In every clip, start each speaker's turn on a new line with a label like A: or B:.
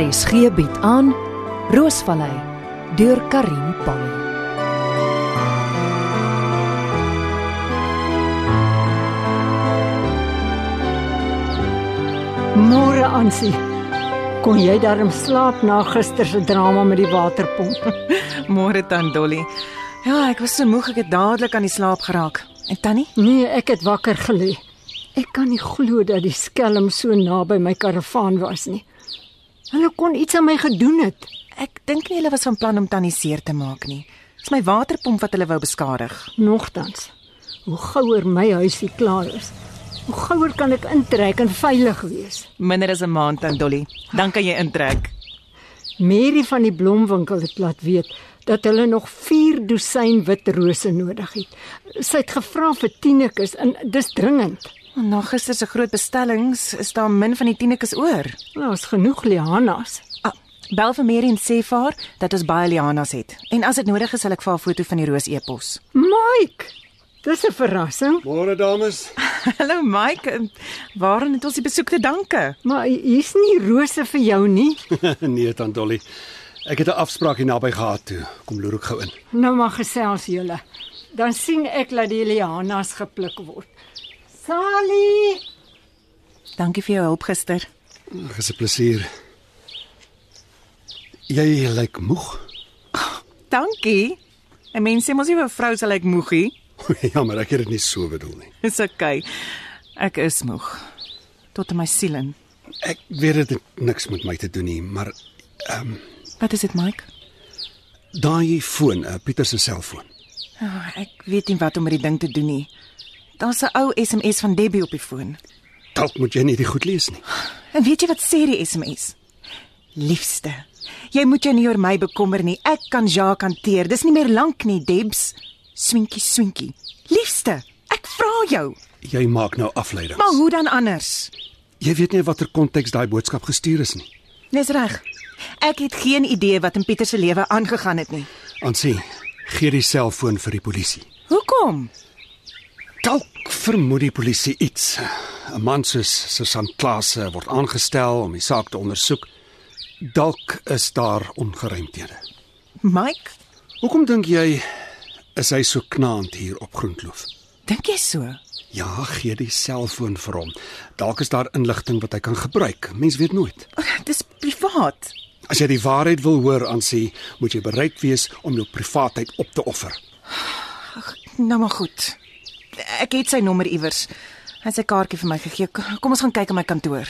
A: RSG bied aan Roosvallei deur Karin Pan.
B: Môre Ansie. Kon jy darm slaap na gister se drama met die waterpomp?
C: Môre dan Dolly. Ja, ek was so moeg ek het dadelik aan die slaap geraak. En tannie?
B: Nee, ek het wakker gelê. Ek kan nie glo dat die skelm so naby my karavaan was nie. Hulle kon iets aan my gedoen het.
C: Ek dink nie hulle was van plan om tannie seer te maak nie. Dis my waterpomp wat hulle wou beskadig.
B: Nogtans, hoe gouer my huisie klaar is, hoe gouer kan ek intrek en veilig wees.
C: Minder as 'n maand dan Dolly. Dan kan jy intrek.
B: Mary van die blomwinkel het laat weet dat hulle nog 4 dosyn wit rose nodig het. Sy het gevra vir Tinekus en dis dringend.
C: Oh, Na gister se groot bestellings is daar min van die tienekes oor.
B: Daar's genoeg lianas.
C: Ah, bel vir Mary en sê vir haar dat ons baie lianas het. En as dit nodig is, sal ek vir haar 'n foto van die roos e-pos.
B: Mike, dis 'n verrassing,
D: Môre dames.
C: Hallo Mike, en waaraan het ons die besoek te danke?
B: maar hier's nie rose vir jou nie.
D: nee, tant Dolly. Ek het 'n afspraak hier naby gehad toe. Kom loer ek gou in.
B: Nou maar gesels julle. Dan sien ek dat die lianas gepluk word. Sally,
C: Dankie vir jou hulp gister.
D: Ag, is 'n plesier. Jy lyk moeg.
C: Dankie. 'n Mens sê mos nie 'n vrou sal ek moegie.
D: Jammer, Ja, ek het dit nie so bedoel nie.
C: Dis okay. Ek is moeg tot in my siel in.
D: Ek weet dit het niks met my te doen nie, maar
C: Wat is dit, Mike?
D: daai foon, uh, Pieter se selfoon.
C: Oh, ek weet nie wat om met die ding te doen nie. Daar's 'n ou SMS van Debbie op die foon.
D: Dalk moet jy nie dit goed lees nie.
C: En weet jy wat sê die SMS? Liefste, jy moet jou nie oor my bekommer nie. Ek kan Jacques hanteer. Dis nie meer lank nie, Debs. Swinkie, swinkie. Liefste, ek vra jou.
D: Jy maak nou afleidings.
C: Maar hoe dan anders?
D: Jy weet nie in watter konteks daai boodskap gestuur is nie.
C: Dis reg. Ek het geen idee wat in Pieter se lewe aangegaan het nie.
D: Ansie, gee die selfoon vir die polisie.
C: Hoekom?
D: Dalk vermoed die polisie iets. 'n Man soos Susan Klase word aangestel om die saak te ondersoek. Dalk is daar ongeruimthede.
C: Mike,
D: Hoekom dink jy is hy so knaand hier op Groenkloof?
C: dink jy so?
D: Ja, gee die selfoon vir hom. Dalk is daar inligting wat hy kan gebruik. Mens weet nooit.
C: Dis privaat.
D: As jy die waarheid wil hoor, Ansie, moet jy bereid wees om jou privaatheid op te offer.
C: Nou maar goed. Ek het sy nommer iewers. Hy het sy kaartjie vir my gegee. K- Kom ons gaan kyk in my kantoor.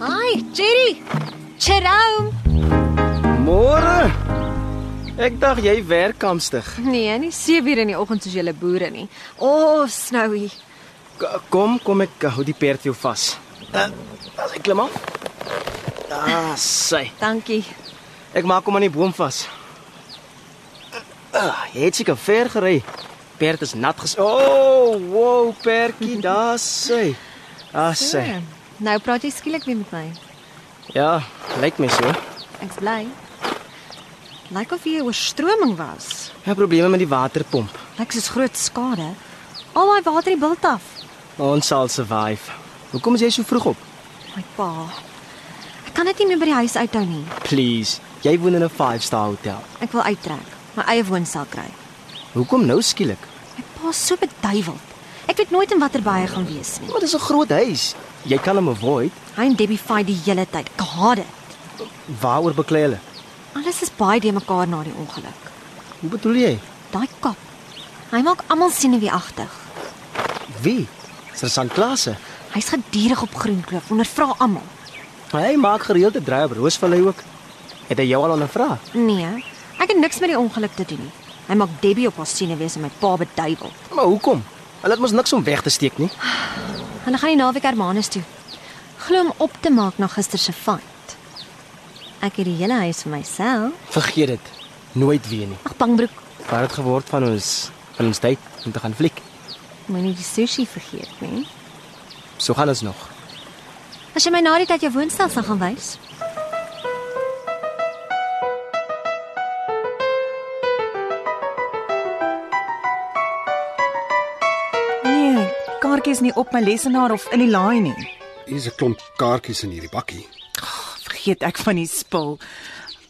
E: Hi, Jerry. Jerome.
F: Môre. Ek dink jy werk kamstig.
E: Nee, nie 7uur in die oggend soos julle boere nie. O, oh, Snowy.
F: K- Kom, kom ek eh, hou die perd jou vas. Uh, as ek klim af. Ah, sy.
E: Dankie.
F: Ek maak hom aan die boom vas. Ah, jy het seker ver gery. Perd is nat ges. O, oh, wow, perdjie, daar sy. Ah, sy.
E: Nou praat jy skielik weer met my.
F: Ja, lyk my so.
E: Ek's bly. Lyk of hier 'n oorstroming was.
F: Ek het Ja, probleme met die waterpomp.
E: Lyk soos groot skade. Al my water het bult af.
F: Maar Ons sal survive. Hoekom is jy so vroeg op?
E: My pa. Ek kan dit nie meer by die huis uithou nie.
F: Please, jy woon in 'n 5-star hotel.
E: Ek wil uittrek, my eie woonstel kry.
F: Hoekom nou skielik?
E: My pa's so beduiweld. Ek weet nooit in watter baie gaan wees nie.
F: Maar dis 'n groot huis. Jy kan hom avoid.
E: Hy en Debbie fight die hele tyd. Ek haat dit.
F: Waaroor beklei hulle?
E: Alles is baie de mekaar na die ongeluk.
F: Hoe bedoel jy?
E: Daai kap. Hy maak almal senuweeagtig.
F: Wie? Sersan Klase.
E: Hy's gedurig op Groenkloof, ondervra almal.
F: Hy maak gereelde draai op Roosvallei ook. Het hy jou al ondervra?
E: Nee, ek het niks met die ongeluk te doen nie. Hy maak Debbie op haar senuwees en my pa beduiwel.
F: Maar hoekom? Hulle het mos niks om weg te steek nie.
E: Hulle gaan die naweek Hermanus toe. Glo hom op te maak na gister se fight. Ek het die hele huis vir myself.
F: Vergeet dit. Nooit weer nie.
E: Ag Bangbroek,
F: Wat het geword van ons van ons tyd om te gaan fliek?
E: moenie die sushi vergeet nie.
F: So gaan ons nog.
E: As jy my na die tyd jou woonstel sal gaan wys.
C: kaartjies Nee, nie op my lesenaar of in die laai nie.
D: Hier's 'n klomp kaartjies in hierdie bakkie.
C: Vergeet ek van die spul.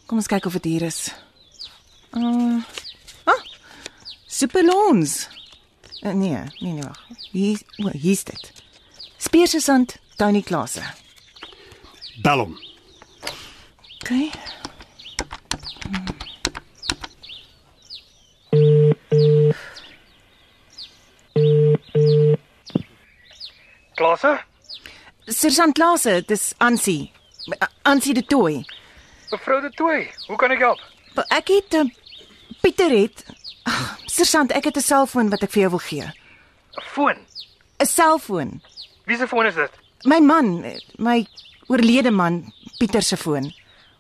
C: Kom ons kyk of dit hier is. Uh, ah. Superlons. Uh, nee, nee nee wag. Hier, o, hier's dit. Speersesand Tony Klase.
D: Bel hom.
C: Okay.
G: Klasse?
C: Sersant Klase, dis Ansie. Uh, Ansie de Tooi.
G: Mevrou De Tooy, hoe kan ek help?
C: Wel, Ek het uh, Pieter het. Ag, Sersant, ek het 'n selfoon wat ek vir jou wil gee.
G: 'n Foon.
C: 'n Selfoon.
G: Wie se foon is dit?
C: My man, eh, my oorlede man, Pieter se foon.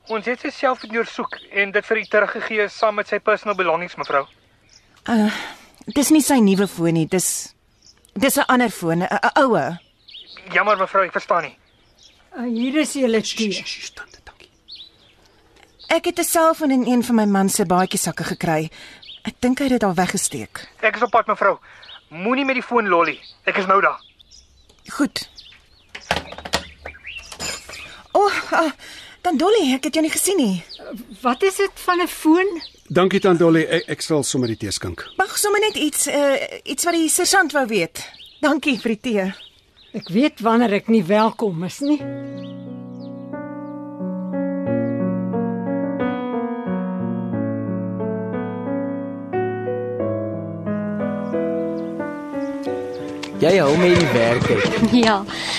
G: Ons het sy self ondersoek en dit vir u teruggegee saam met sy personal belongings, mevrou.
C: Dis nie sy nuwe foon nie, dis dis 'n ander foon, 'n 'n oue.
G: Jammer mevrou, ek verstaan nie.
B: Uh, hier is julle tee.
D: Sjoe, tante, dankie.
C: Ek het 'n selfoon in een van my man se baadjiesakke gekry. Ek dink hy het dit al weggesteek.
G: Ek is op pad mevrou. Moenie met die foon lolly. Ek is nou daar.
C: Goed. O, oh, ah, dan Dolly, ek het jou nie gesien nie.
B: Wat is dit van 'n foon?
D: Dankie tante Dolly, ek, ek sal sommer die tee skink.
C: Mag sommer net iets uh, iets wat die sergeant wou weet. Dankie vir die tee.
B: Ek weet wanneer ek nie welkom is nie.
F: Jy hou my in die werk uit.
E: Ja.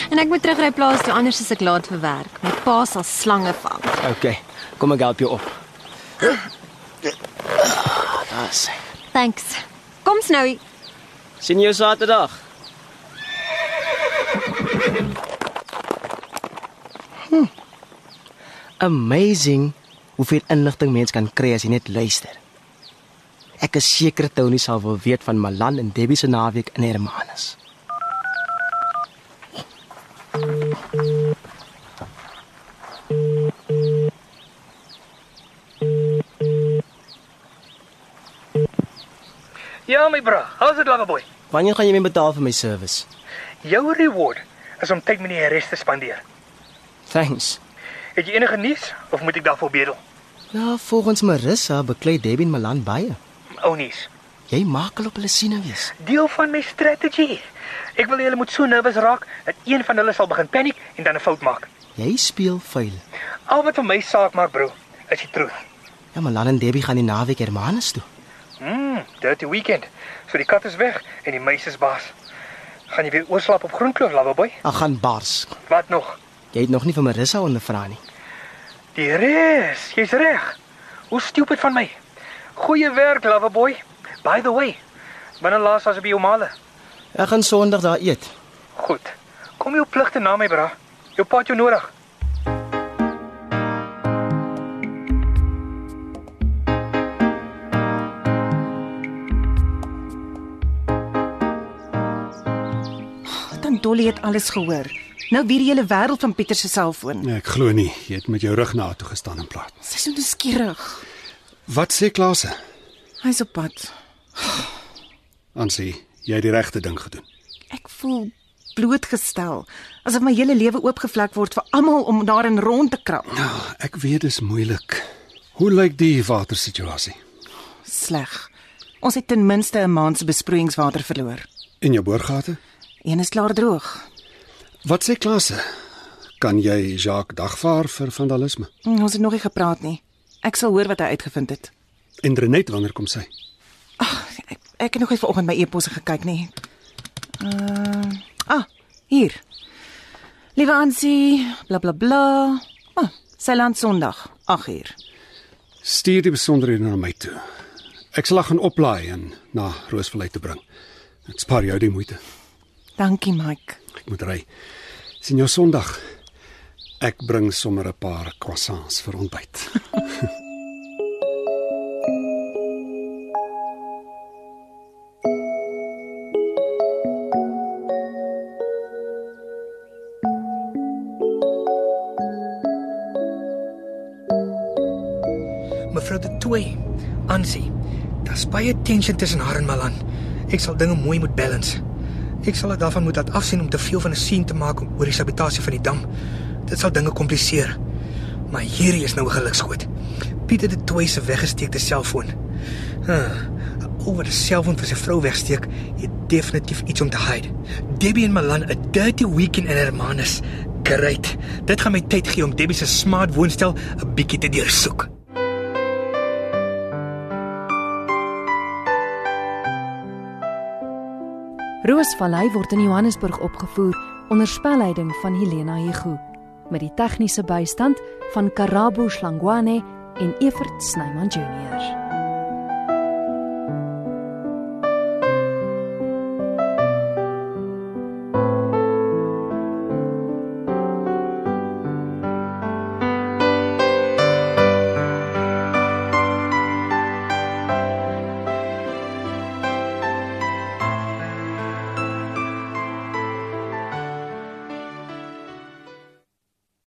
E: En ek moet terugry plaas toe anders as ek laat vir werk. My pa sal slange vang.
F: Okay, kom ek help jou op. Ah, sê.
E: Thanks. Kom Snowy.
F: Sien jou Saterdag. Hm. Amazing hoeveel inligting mens kan kry as jy net luister. Ek is seker Tony sal wil weet van Malan en Debbie se naweek in Hermanus.
G: Ja my bra, how's it lover boy?
F: Wanneer gaan jy my betaal vir my service?
G: Jou reward is om tyd met die res te spandeer.
F: Thanks.
G: Het jy enige nuus of moet ek daarvoor bedel?
F: Ja, volgens Marissa beklei Debbie en Malan baie.
G: Ou nuus.
F: Jy maak hulle op hulle siene wees.
G: Deel van my strategie. Ek wil julle moet so nervous raak dat een van hulle sal begin paniek en dan 'n fout maak.
F: Jy speel vuil.
G: Al wat vir my saak maak, bro, is die truth.
F: Ja, Malan en Debbie gaan die naweek Hermanus toe.
G: Mm, dirty weekend. So die kat is weg en die meisie is baas. Gaan jy weer oorslaap op Groenkloof, Lavaboy?
F: Ag gaan bars.
G: Wat nog?
F: Jy het nog nie vir Marissa ondervra nie.
G: Die res, jy's reg. Hoe stupid van my. Goeie werk, Lavaboy. By the way, wanneer laas was jy by jou maale?
F: Ek gaan Sondag daar eet.
G: Goed. Kom jou pligte na my, bra. Jou pa het jou nodig.
C: Dan Dolly het alles gehoor. Nou weer die hele wêreld van Pieter se selfoon.
D: Nee, ek glo nie, jy het met jou rug na toe gestaan en praat.
C: Sy is so nuuskierig.
D: Wat sê Klase?
C: Hy's op pad.
D: Ansie, jy het die regte ding gedoen.
C: Ek voel blootgestel, asof my hele lewe oopgevlek word vir almal om daarin rond te krap.
D: Ja, ek weet dis moeilik. Hoe lyk die watersituasie?
C: Sleg. Ons het ten minste 'n maand se besproeiingswater verloor.
D: En jou boorgate?
C: Een is klaar droog.
D: Wat sê Klase? Kan jy Jacques dagvaar vir vandalisme?
C: Hm, Ons het nog nie gepraat nie. Ek sal hoor wat hy uitgevind het.
D: En Renet wanneer kom sy?
C: Ek, ek het nog nie vanoggend my e-posse gekyk nie. Uh, ah, hier. Liewe Ansie, bla bla bla. Ah, sy land Sondag, 8uur.
D: Stuur die besonderhede na my toe. Ek sal haar gaan oplaai en na Roosvallei te bring. Dit spaar jou die moeite.
C: Dankie, Mike.
D: Ek moet ry. Sien jou Sondag. Ek bring sommer 'n paar croissants vir ontbyt.
G: Mevrou De Tooy, Ansie. Daar's baie tension tussen haar en Malan. Ek sal dinge mooi moet balance.
H: Ek sal dit daarvan moet laat afsien om te veel van 'n sien te maak om- oor die sabotasie van die dam. Dit sal dinge kompliseer. Maar hierdie is nou 'n gelukskoot. Pieter het toe sy weggesteekte selfoon. Huh. Oor die selfoon van sy vrou wegsteek, het definitief iets om te hide. Debbie en Malan 'n dirty weekend in Hermanus. Great. Dit gaan my tyd gee om Debbie se smart woonstel 'n bietjie te deursoek.
A: Roosvallei word in Johannesburg opgevoer onder spelleiding van Helena Hugo met die tegniese bystand van Karabo Slangwane en Evert Snyman Junior.